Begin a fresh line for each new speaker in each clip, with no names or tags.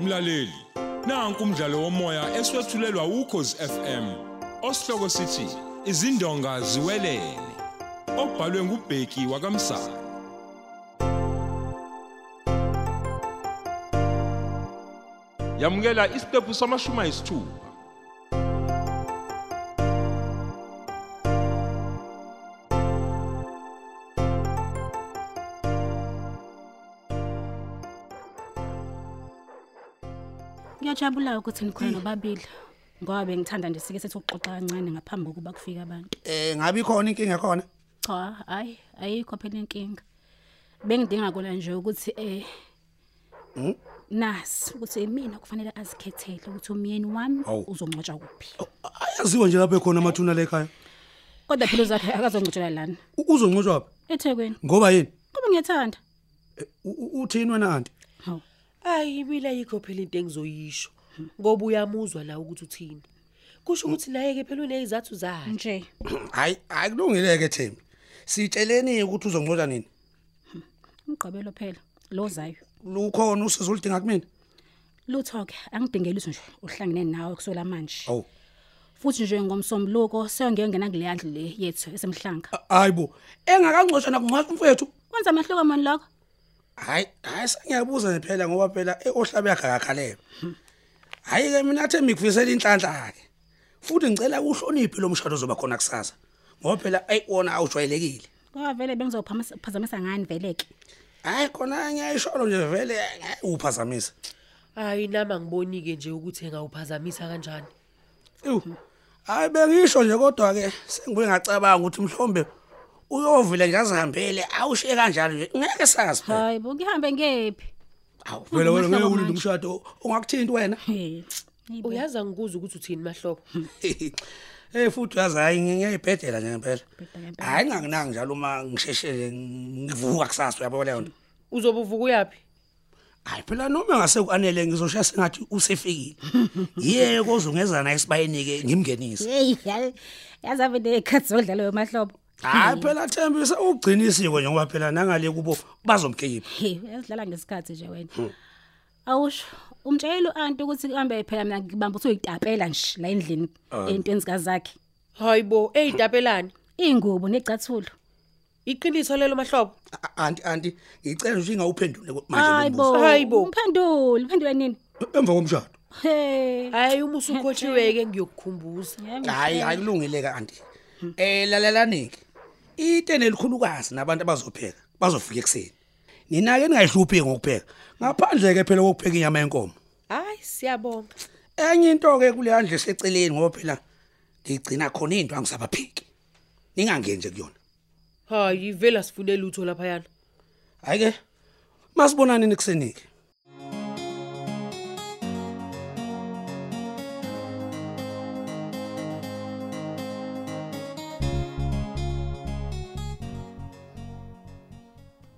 Mlaleli, nanku umdlalo womoya eswetshulelwa ukhozi FM. Osihloko sithi izindonga ziwelele. Obhalwe ngubheki wakamsana. Yamukela isiqephu samashumi ayisithupha.
Ngiyajabula ukuthi nikhona nobabili ngoba bengithanda nje sike sethu ukuxoxa kancane ngaphambi kokuba kufike abantu.
Eh ngabe ikhona inkinga khona?
Cha, hayi, ayikho phela inkinga. Bengidinga kona nje ukuthi eh Nas ukuthi mina kufanele azikhethele ukuthi umyeni wami
Hawu.
uzongcwatshwa kuphi.
Ayaziwa nje lapha ekhona amathuna la ekhaya.
Kodwa phela uzakhe akazongcwatshwa lana.
U- Uzonqotshwa phi?
Ethekwini.
Ngoba yini?
Kuba ngiyethanda.
U- u- Uthini wena aunti?
Hawu.
Ayi ibile ayikho phela into engizoyisho ngoba uyamuzwa la ukuthi uthini. Kusho ukuthi naye ke phela unezizathu zakhe.
Nje
Hayi akulungileke Thembi. Sitsheleni ukuthi uzonqotshwa nini?
umgqibelo phela lo zayo.
Lukhona usizo oludinga kumina.
Lutho ke angidingeli nje uhlangene nawe kusola manje.
Awu.
Futhi nje ngomsombuluko sengiyongena kuleyandle le yethu esemhlanga.
Hayibo. Engakangqotshwa nakungqathu mfethu.
Kwenza amahluko mani lokho?
Hayi, hayi sengiyabuza nje phela ngoba phela e, eohlabe yakhe Hayi ke mina Thembi ngikufisela inhlanhla ke. Futhi ngicela uhloniphe lo mshado ozoba khona kusasa. Ngoba phela ayi wona awujwayelekile.
Ngoba vele bengizophazamisa ngani vele ke.
Hayi khona ngiyayisholo nje vele hhayi, uphazamisa.
Ayi nama ngibonike nje ukuthi engawuphazamisa kanjani.
Ewu. Hayi bengisho nje kodwa ke sengibuye ngacabanga ukuthi mhlombe uyovile nje azihambele awushiye kanjalo nje ngeke sazi phela.
Hayi bo ngihambe ngephi?
Awu vele wena ngeke
Uhlobo
ulinde
manje.
umshado ungakuthinti wena.
Hey. Uya
Uyazi angikuza ukuthi uthini mahlobo.
Eh futhi uyazi hayi ngiyayibhedela nje ngempela.
Ngibhedela ngempela.
Hayi ngingakunaki njalo uma ngisheshe nje ngivuka kusasa uyabo leyo nto.
Uzobe uvuka uyapi?
Hayi phela noma ngase kuanele ngizoshaya sengathi usefikile. Yebo ozongezana esibayeni ke ngimngenise.
Hey, yazi yazi vele ikhathi zodlala yomahlobo.
Hayi Ah, phela Thembisa ugcina isiko nje ngoba phela nangale kubo bazomkhipha.
Hey, uyazidlala ngesikhathi nje wena. Awusho umtshayelo anti ukuthi kuhambe phela mina ngibamba ukuthi uyitapela nje la endlini entweni sikazakhe.
Hayibo, eyidapelani.
Ingubo necathulo.
Iqiniso lelo mahlobo.
A- Anti anti ngicela nje ingawuphendule ko- manje lo
Hayibo.
Hayibo.
Mphendule, mphendule nini?
mbuzo. Emva komshado.
Hey.
Hayi uma usukhothiwe ke ngiyokukhumbuza.
Hayi akulungile ka anti. Eh lalalanike. Itene likhulukazi nabantu abazopheka bazofika ekseni. Nina ke ningayihluphi ngokupheka. Ngaphandle ke phela kokupheka inyama yenkomo.
Hayi siyabonga.
Enye into ke kule handle seceleni ngoba phela ngigcina khona into angisabaphiki. Ningangenje kuyona.
Hayi vela sifune lutho lapha yana.
Hayi ke masibonane nikuseni ke.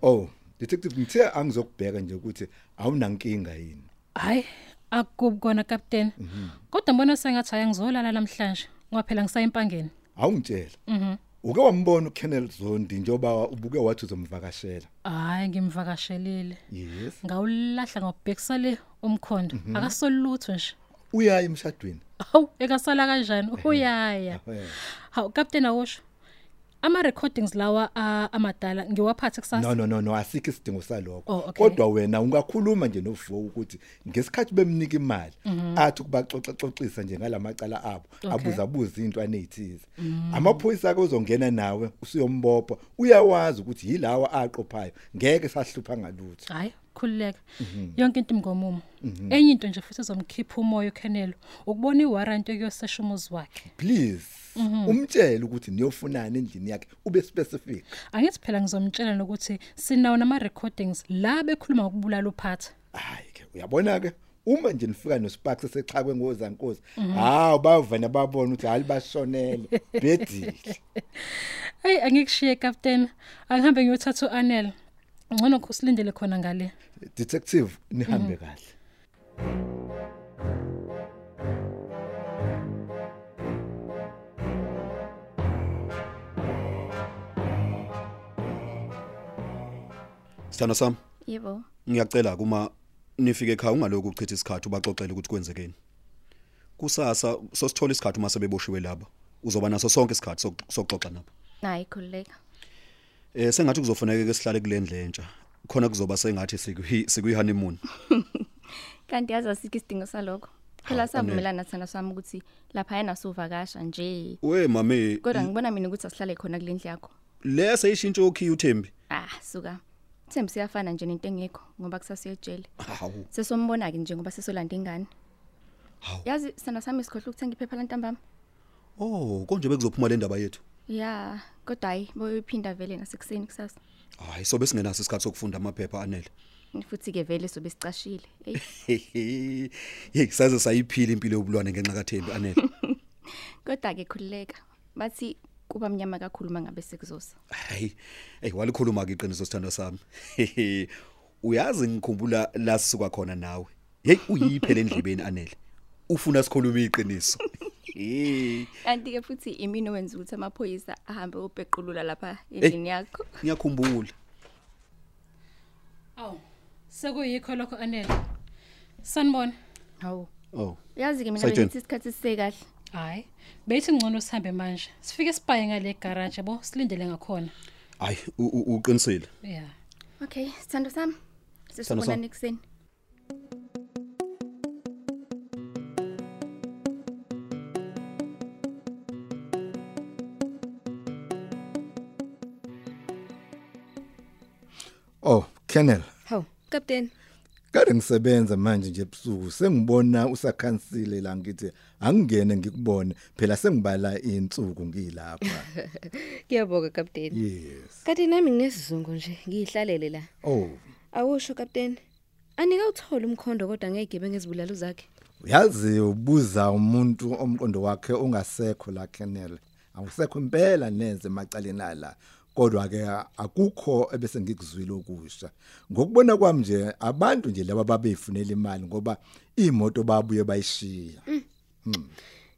Oh, detective ngithe angizokubheka nje ukuthi awunankinga yini.
hayi akukubi kona kapteni
Mhm.
kodwa mbona sengathi hayi ngizolala namhlanje ngoba phela ngisayimpangeni
Awungitshela. Mhm. Uke wambona uKenneth Zondi njoba ubuke wathi uzomvakashela.
hayi ngimvakashelile
Yes.
ngawulahla ngawubhekisa le umkhondo
Mhm.
akasolutho nje
Uyaye emshadweni.
hawu ekasala kanjani
Mhm.
uyaya hawu kapteni awusho ama-recordings lawa ah, amadala ngiwaphathe
No
kusasa
no no no asikho isidingo
Oh,
salokho.
okay.
Kodwa wena ungakhuluma nje noVuko ukuthi ngesikhathi bemnika imali athi kubaxoxaxoxisa nje ngalamacala abo abuza buza into anezithize. Amaphoyisa ake uzongena nawe usiyombopha uyawazi ukuthi yilawa aqophayo ngeke sahlupha ngalutho.
hayi khululeka
Mhm.
yonke into imngomumo enye into nje futhi ezomkhipha umoya ukhenelo ukubona iwarranti yokuyosesha umuzi wakhe
please umtshele ukuthi niyofunana endlini yakhe ube specific
angithi phela ngizomtshela nokuthi sinawo nama-recordings la bekhuluma ngokubulala uphatha
hayi ke uyabona ke uma nje nifika nosparks sexhakwe ngozankosi hawo bavana babona ukuthi hali bashonele bedile
eyi angikushiye kapteni angihambe ngiyothatha u-anel ngcono khusilindele khona ngale
detective nihambe kahle
Sithanda sami,
Yebo.
ngiyacela kuma nifike ekhaya ungalokhu uchitha isikhathi ubaxoxele ukuthi kwenzekeni kusasa sosithola isikhathi uma sebeboshiwe laba uzoba naso sonke isikhathi sok- sokuxoxa nabo
Hayi khuleka.
eh sengathi kuzofanele ke sihlale kulendle entsha khona kuzoba sengathi sikuyi sikuyi honeymoon
Kanti yazi asikho isidingo salokho. Phela
Hawu,
savumelana thina sami ukuthi lapha yena suvakasha nje.
we mami
Kodwa ngibona mina ukuthi asihlale khona kulendlu yakho.
lesa ishintsho okhi uThembi
Ah, suka. Thembi siyafana nje nento engekho ngoba kusasiye ejele.
hawu
Sesombona ke nje ngoba sesolanda ingane.
Hawu.
Yazi sana sami sikhohle ukuthenga iphepha lantambama.
oh konje bekuzophuma le ndaba yethu
Yeah, kodwa hayi boyiphinda vele nasekuseni kusasa.
hayi so besingenaso isikhathi sokufunda amaphepha anele
Futhi ke vele sobe sicashile. Ey,
hey saze sayiphila impilo yobulwane ngenxa kaThembi anele
kodwa ke khululeka. Bathi kuba mnyama kakhulu mangabe sekuzosa.
hayi hey walikhuluma ke iqiniso sithando sami uyazi ngikhumbula la sisuka khona nawe hey uyiphele endlebeni anele ufuna sikhulume iqiniso hey
Kanti ke futhi imini owenza ukuthi amaphoyisa ahambe obhequlula lapha endlini yakho.
ngiyakhumbula
Aw. Sekuyikho lokho anele. Sanibona.
Hawu.
oh
Uyazi ke mina
Sayitsheni.
bengithi isikhathi sisekahle.
Hayi. Bethi ngcono sihambe manje. Sifike sipaye ngale garage yabo, silindele ngakhona.
hayi u- u- uqinisile
Yeah.
Okay, sithando sami.
Sithando sami.
Sesibonana ekseni.
Oh, Kennel.
Hawu, Captain.
Kade ngisebenza manje nje ebusuku sengibona usakhansile la ngithi angingene ngikubone phela sengibala insuku ngilapha.
Ngiyabonga Captain.
Yes.
Kanti nami nginesizungu nje, ngihlalele la.
Oh,
Awusho Captain. Anika uthola umkhondo kodwa ngegebe ngezibulalo zakhe.
uyazi ubuza umuntu omqondo wakhe ongasekho la Kennel. Awusekho impela neze emacaleni ala. kodwa ke akukho ebese ngikuzwile okusha ngokubona kwami nje abantu nje laba babeyifunela imali ngoba imoto babuye bayishiya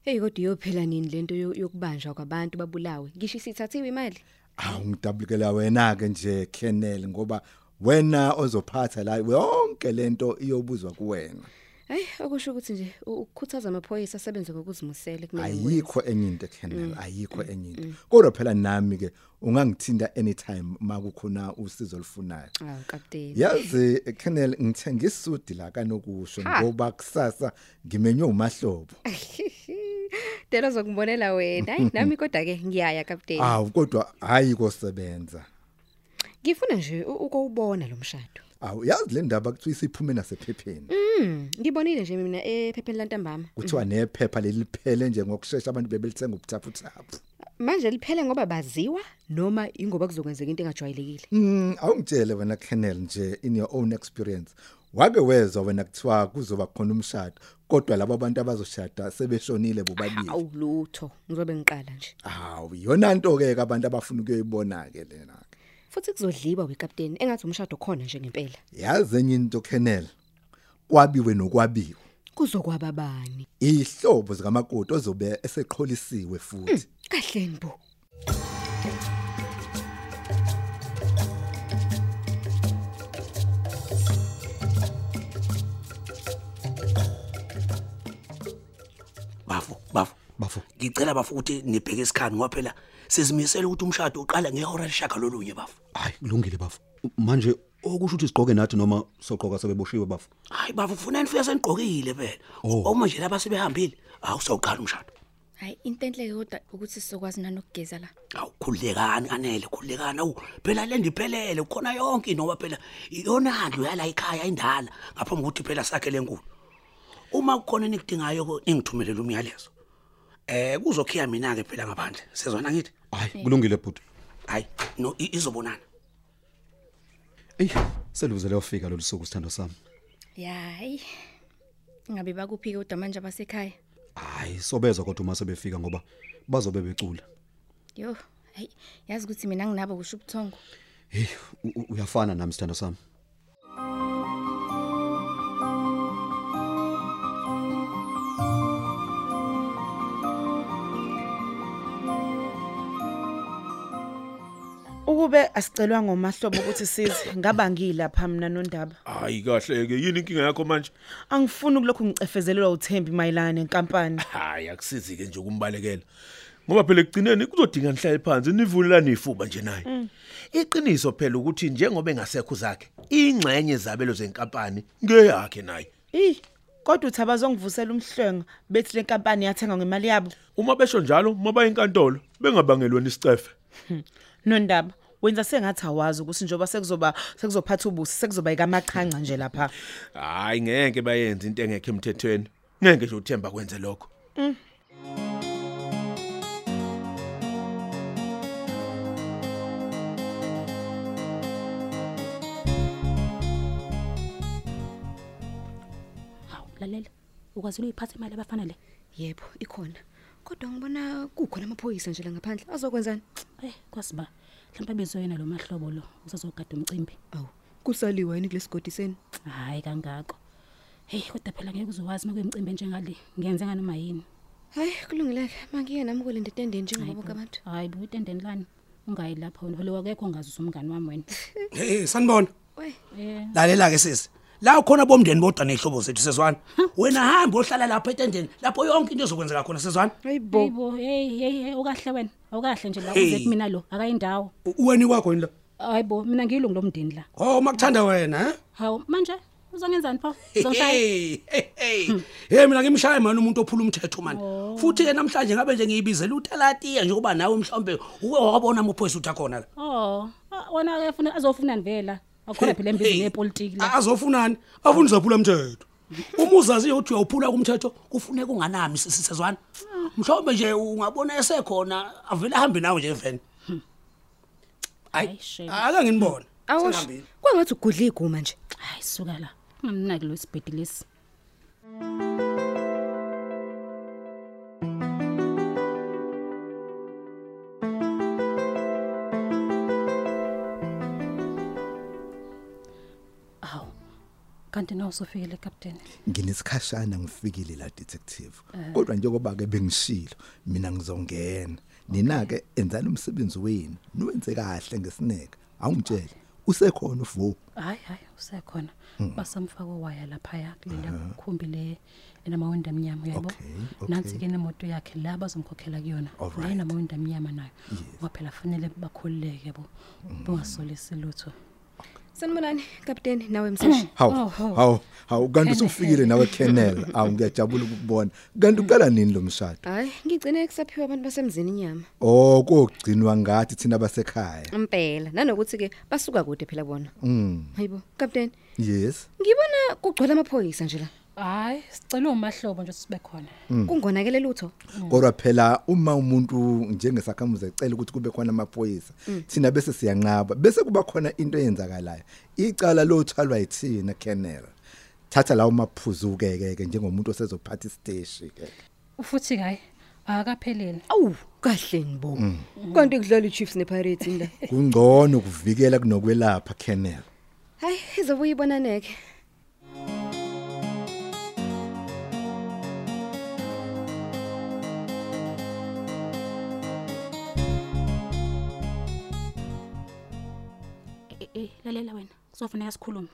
Hey kodwa iyophela nini lento yo- yokubanjwa kwabantu babulawe? Ngisho sithathiwe imali.
awungidabulikela wena ke nje Kennel ngoba wena ozophatha la yonke lento iyobuzwa kuwena
Hayi, okusho ukuthi nje u- ukukhuthaza amaphoyisa asebenze ngokuzimisela kumele ngikwenze.
ayikho enye into
Mm,
Kennel ayikho enye into kodwa phela nami ke ungangithinta anytime makukhona usizo olufunayo
Hawu Captain.
yazi Kennel ngithenga isudi la kanokusho
Ha.
ngoba kusasa ngimenywe umahlobo
Dela zokubonela wena. Hayi nami kodwa ke ngiyaya Captain.
awu kodwa hayi kosebenza
Ngifuna nje u- ukubona lo mshado.
awu yazi le ndaba kuthiwa isiphume nasephepheni
Mm, ngibonile nje mina ephepheni lantambama. Mm.
kuthiwa nephepha leliphele nje ngokusheshsha abantu bebelithenga ubuthaputhapu
Manje liphele ngoba baziwa noma ingoba kuzokwenzeka into engajwayelekile.
Mm, awungitshele wena Kennel nje in your own experience. Wake wezwa wena kuthiwa kuzoba khona umshado, kodwa laba bantu abazoshada sebeshonile bobabili.
Awu lutho, ngizobe ngiqala nje.
Hawu, yona into ke abantu abafuna ukuyoyibona ke lena ke.
Futhi kuzodliwa wekapteni engathi umshado khona nje ngempela.
Yazi enye into Kennel. Kwabiwe nokwabiwe.
Kuzokwaba bani?
Ihlobo zikamakoti ozobe eseqholisiwe futhi.
Kahle nibo.
bafu bafu
Bafu.
ngicela bafu ukuthi nibheke isikhani ngoba phela sizimisele ukuthi umshado uqala ngehora leshaka lolunye bafu
hayi kulungile bafu manje okusho ukuthi sigqoke nathi noma soqoka sobeboshiwe bafu
hayi bafu funa nifika senigqokile phela
Oh.
uma nje laba sebehambile awusawuqala umshado
Hayi into enhle ke kodwa ukuthi sizokwazi nanokugeza la.
awu khululekani kanele khululekani awu phela le ndiphelele kukhona yonke into ngoba phela iyona ndlu yala ekhaya indala ngaphambi kokuthi phela sakhe lenkulu uma kukhona enikudingayo ko- ningithumelele umyalezo eh kuzokhiya mina ke phela ngaphandle sezwana ngithi
hayi kulungile bhuti
hayi no i- izobonana
ey seluze leyofika lolu suku sithando sami
Yayi. Ngabe bakuphi ke kodwa manje abasekhaya?
hayi sobezwa kodwa uma sebefika ngoba bazobe becula
Yo, hayi yazi ukuthi mina nginabo kusho ubuthongo.
hey u- u- uyafana nami sithando sami
Ukube asicelwa ngomahlobo ukuthi size ngaba ngilapha mina nondaba.
hayi kahle ke yini inkinga yakho manje
Angifuni kulokhu ngicefezelelwa uThembi mayelana nenkampani.
hayi akusizi ke nje ukumbalekela ngoba phela ekugcineni kuzodinga nihlale phansi nivulelane ifuba nje naye iqiniso phela ukuthi njengoba engasekho zakhe ingxenye zabelo zenkampani ngeyakhe naye
Ey, kodwa uthabazo ngivusela umhlwengo bethi lenkampani yathenga ngemali yabo.
uma besho njalo maba enkantolo bengabangelweni isicefe
Nondaba wenza sengathi awazi ukuthi njoba sekuzoba sekuzophatha ubusi sekuzoba ikamaqhanqa nje lapha.
hayi ngeke bayenze into engekho emthethweni ngeke nje uthemba kwenze lokho
Mm.
lalela ukwazile uyiphatha imali abafana le
Yebo, ikhona. Kodwa ngibona kukhona amaphoyisa nje la ngaphandle. Azokwenzani?
Eh, kwasiba. Mhlawumbe bezoyena lo mahlobo lo usazogada umcimbi.
Awu, kusaliwa yini kulesigodi seni?
Hayi kangako. Hey, kodwa phela ngeke uzowazi makuyemcimbi njengale. Ngenze nganoma yini.
Hayi, kulungileke. Mangiye nami kulenda tendeni njengoba bonke abantu.
Hayi, buyitendeni lani. Ungayi lapha wena. Phela akekho ongazi usumngani wami wena.
hey eh, sanibona
Eh.
lalela ke sisi la khona bomndeni bodwa nezihlobo zethu sezwana wena hamba ohlala lapha etendeni lapho yonke into ezokwenzeka khona sezwana
Hey bo, hey hey hey ukahle wena. Awukahle nje la
Hey.
uze kumina lo. Akayindawo.
uweni kwakho yini la
Hayi bo, mina ngilungu lomndeni la.
oh makuthanda wena eh?
Hawu, manje uzongenzani pho? Uzoshaya.
hey hey, hey. hey mina ngimshaye mani umuntu ophula umthetho mani futhi ke namhlanje ngabe nje ngiyibizela utalatiya nje ukuba nawe mhlawumbe uke wabona amaphoyisa uthi akhona la
Oh, ah, wona akafuna azofunani vela. Akhona phela embizini yepolitiki
Ah,
la.
azofunani afuna uzaphula umthetho uma uzaziyo ukuthi uyawuphula kumthetho kufuneka unganami sisi sezwana mhlawumbe nje ungabona esekhona avele ahambe nawe nje eveni hayi akanginibona
Awush.
Sengihambile.
Kwangathi ugudla iguma nje.
Hayi suka la. Nginamnaki lo sibhedi lesi. Aw. Kanti nawo sofikele captain.
nginesikhashana ngifikile la detective
Eh.
kodwa njengoba ke bengishilo mina ngizongena ninake enzani umsebenzi wenu niwenze kahle ngesineke awungitshele usekhona uvo
Hayi hayi usekhona.
Mm.
Basamfaka owaya lapha yakulinda ukukhumbi le enamawindi amnyama uyabo.
Okay,
Nansi ke nemoto yakhe la bazomkhokhela kuyona.
Alright.
Le enamawindi amnyama nayo. Ngoba phela fanele bakhululeke yabo.
Hmm.
Bungasolisi lutho.
Sanibonani, kapteni nawe mseshi.
hawu hawu hawu kanti
Ene,
usufikile nawe Kennel awu ngiyajabula ukubona kanti uqala nini lo mshado
Hayi, ngigcine kusaphiwa abantu basemzini inyama.
oh kugcinwa ngathi thina basekhaya
Impela, nanokuthi ke basuka kude phela bona.
mm
Hayibo, kapteni.
yes
Ngibona kugcwele amaphoyisa nje la.
Hayi, sicela umahlobo nje sibe khona.
Mm.
Kungonakele lutho.
kodwa phela uma umuntu njengesakhamuzi ecela ukuthi kube khona amaphoyisa
Mm.
thina bese siyanqaba bese kuba khona into eyenzakalayo icala lothwalwa yithina Kennel thatha lawo maphuzu ukeke ke njengomuntu osezophatha isteshi ke
Ufuthi hayi, akaphelele.
Awu, kahle nibo.
Mm.
Kanti kudlala iChiefs nePirates inda.
kungcono kuvikela kunokwelapha Kennel
Hayi, izobuya ibonaneke.
Eh eh lalela wena. Kuzofanele sikhulume.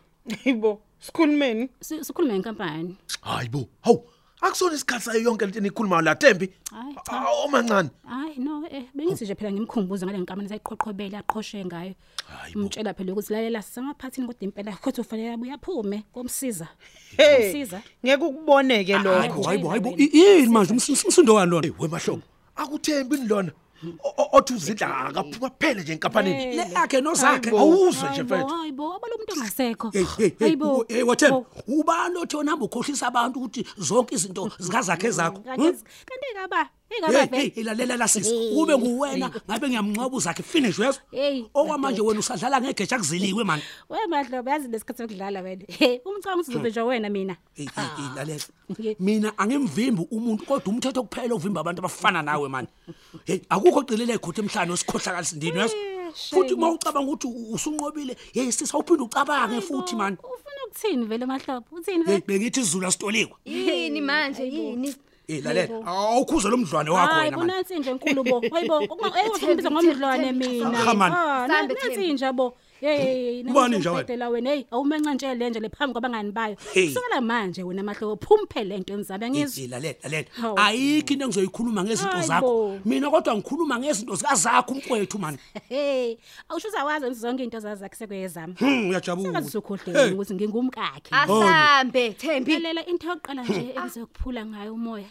Hayibo, sikhulumeni?
Sikhulume ngenkampani.
hayi bo hawu akusona isikhathi sayo yonke lento enikhulumayo la thembi
Hayi.
Ah, omancane
Hayi no eh bengithi nje phela ngimkhumbuze ngale nkampani sayiqhoqhobela aqhoshe ngayo.
Hayi
Umtshela phela ukuthi lalela sisemaphathini kodwa impela kodwa ufanele abuye aphume komsiza.
Hey,
Komsiza.
ngeke ukuboneke lokho.
hayibo hayibo hayibo I- yini manje umsindo umsindo wani lona
we mahlobo akuthembi nilona O- o- othi uzidla akaphuma phele nje enkampanini
le yakhe nozakhe
awuzwe nje
Hayibo,
mfethu
hayibo abalomuntu ongasekho.
Hey, hey, hey,
Hayibo.
u- hey wathemba ubani othi wona hamba ukhohlisa abantu ukuthi zonke izinto zikazakhe
Mm,
zakho Hmm?
Kanti kanti kaba,
hey
ekaba
hey
vele.
ilalela lasisi
Hey.
ube nguwena ngabe ngiyamnqoba uzakhe finish wezo
Hey.
okwamanje wena usadlala ngegeja kuziliwe mani
We mahlobo yazi lesikhathi sokudlala wena. Hey, umcanga ukuthi uzobe nje wena mina.
Hey, hey, hey,
Ah,
lalela mina angimvimbi umuntu kodwa umthetho kuphela uvimba abantu abafana nawe mani hey akukho oqilele ikhotha emhlanje osikhohlakala sindini wezo futhi uma ucabanga ukuthi u- usunqobile hey sisi awuphinde ucabange futhi mani
Ufuna ukuthini vele mahlobo? Uthini
Hey,
vele?
bengithi isizulu asitolikwa
Yini manje yini?
Eh lalela awukhuze lo mdlwane wakho
Hayi
wena manje.
kunansi nje enkulu bo. Hayibo, ngizombiza ngomdlwane mina.
Hamba mani.
Ah,
Sambe,
nansi nje bo. Hey,
Ubani nje wena?
wena? wena hey, awumenca nje le nje lephambi kwabangani bayo.
Hey.
Kusukela manje wena amahloko phumphele into enzabe ngizwe.
Izi lalela lalela
Hawu.
ayikho into engizoyikhuluma ngezinto
Hayi
zakho
bo.
mina kodwa ngikhuluma ngezinto zikazakho umkwethu mani
Hey, awusho uzawazi ukuthi zonke into zazi zakhe sekuyezami.
Hmm, uyajabula.
Sengazizokhohlwa
Hey.
ukuthi ngingumkakhe.
Asambe,
Thembi. Lalela into yokuqala nje engizokuphula ngayo umoya.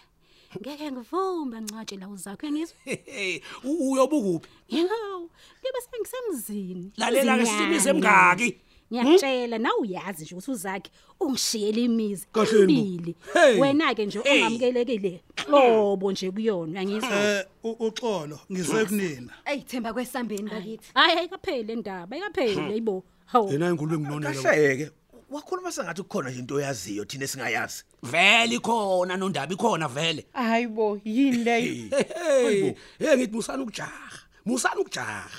Ngeke ngivume ngcwatshe la uzakho ngizwe.
hey uyobukupi
Yho, ngibe sengisemzini.
Lalela ke,
Izinyanga.
simize emngaki?
Ngiyakutshela nawe uyazi nje ukuthi uzakhe ungishiyele imizi
Kahle bo.
emibili.
Hey.
Wena ke nje
Hey.
ongamukelekile. Hlobo nje kuyona ngizwa.
Eh uxolo ngisekunina.
Ey Themba kwesambeni bakithi.
Hayi ayikapheli le ndaba,
Hm.
ayikapheli yibo. Hawu.
yena ingulube nginona
Kahleke. Wakhuluma sengathi kukhona nje into oyaziyo thina singayazi.
vele ikhona nondaba ikhona vele
hayibo yini le
hey hey ngithi musana ukujaha musana ukujaha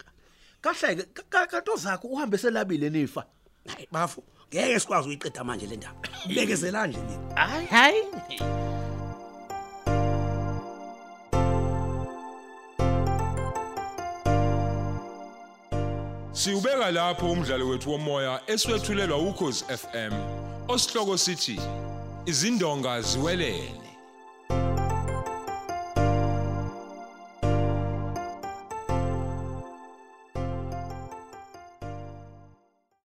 Kahleke kanto zakho uhambe selabile nifa.
Hayi bafu ngeke sikwazi uyiqeda manje le ndaba bekezela nje mina
Hayi.
Hayi.
Siubeka lapho umdlalo wethu womoya eswetshulelwa ukhozi FM. Osihloko sithi izindonga ziwelele.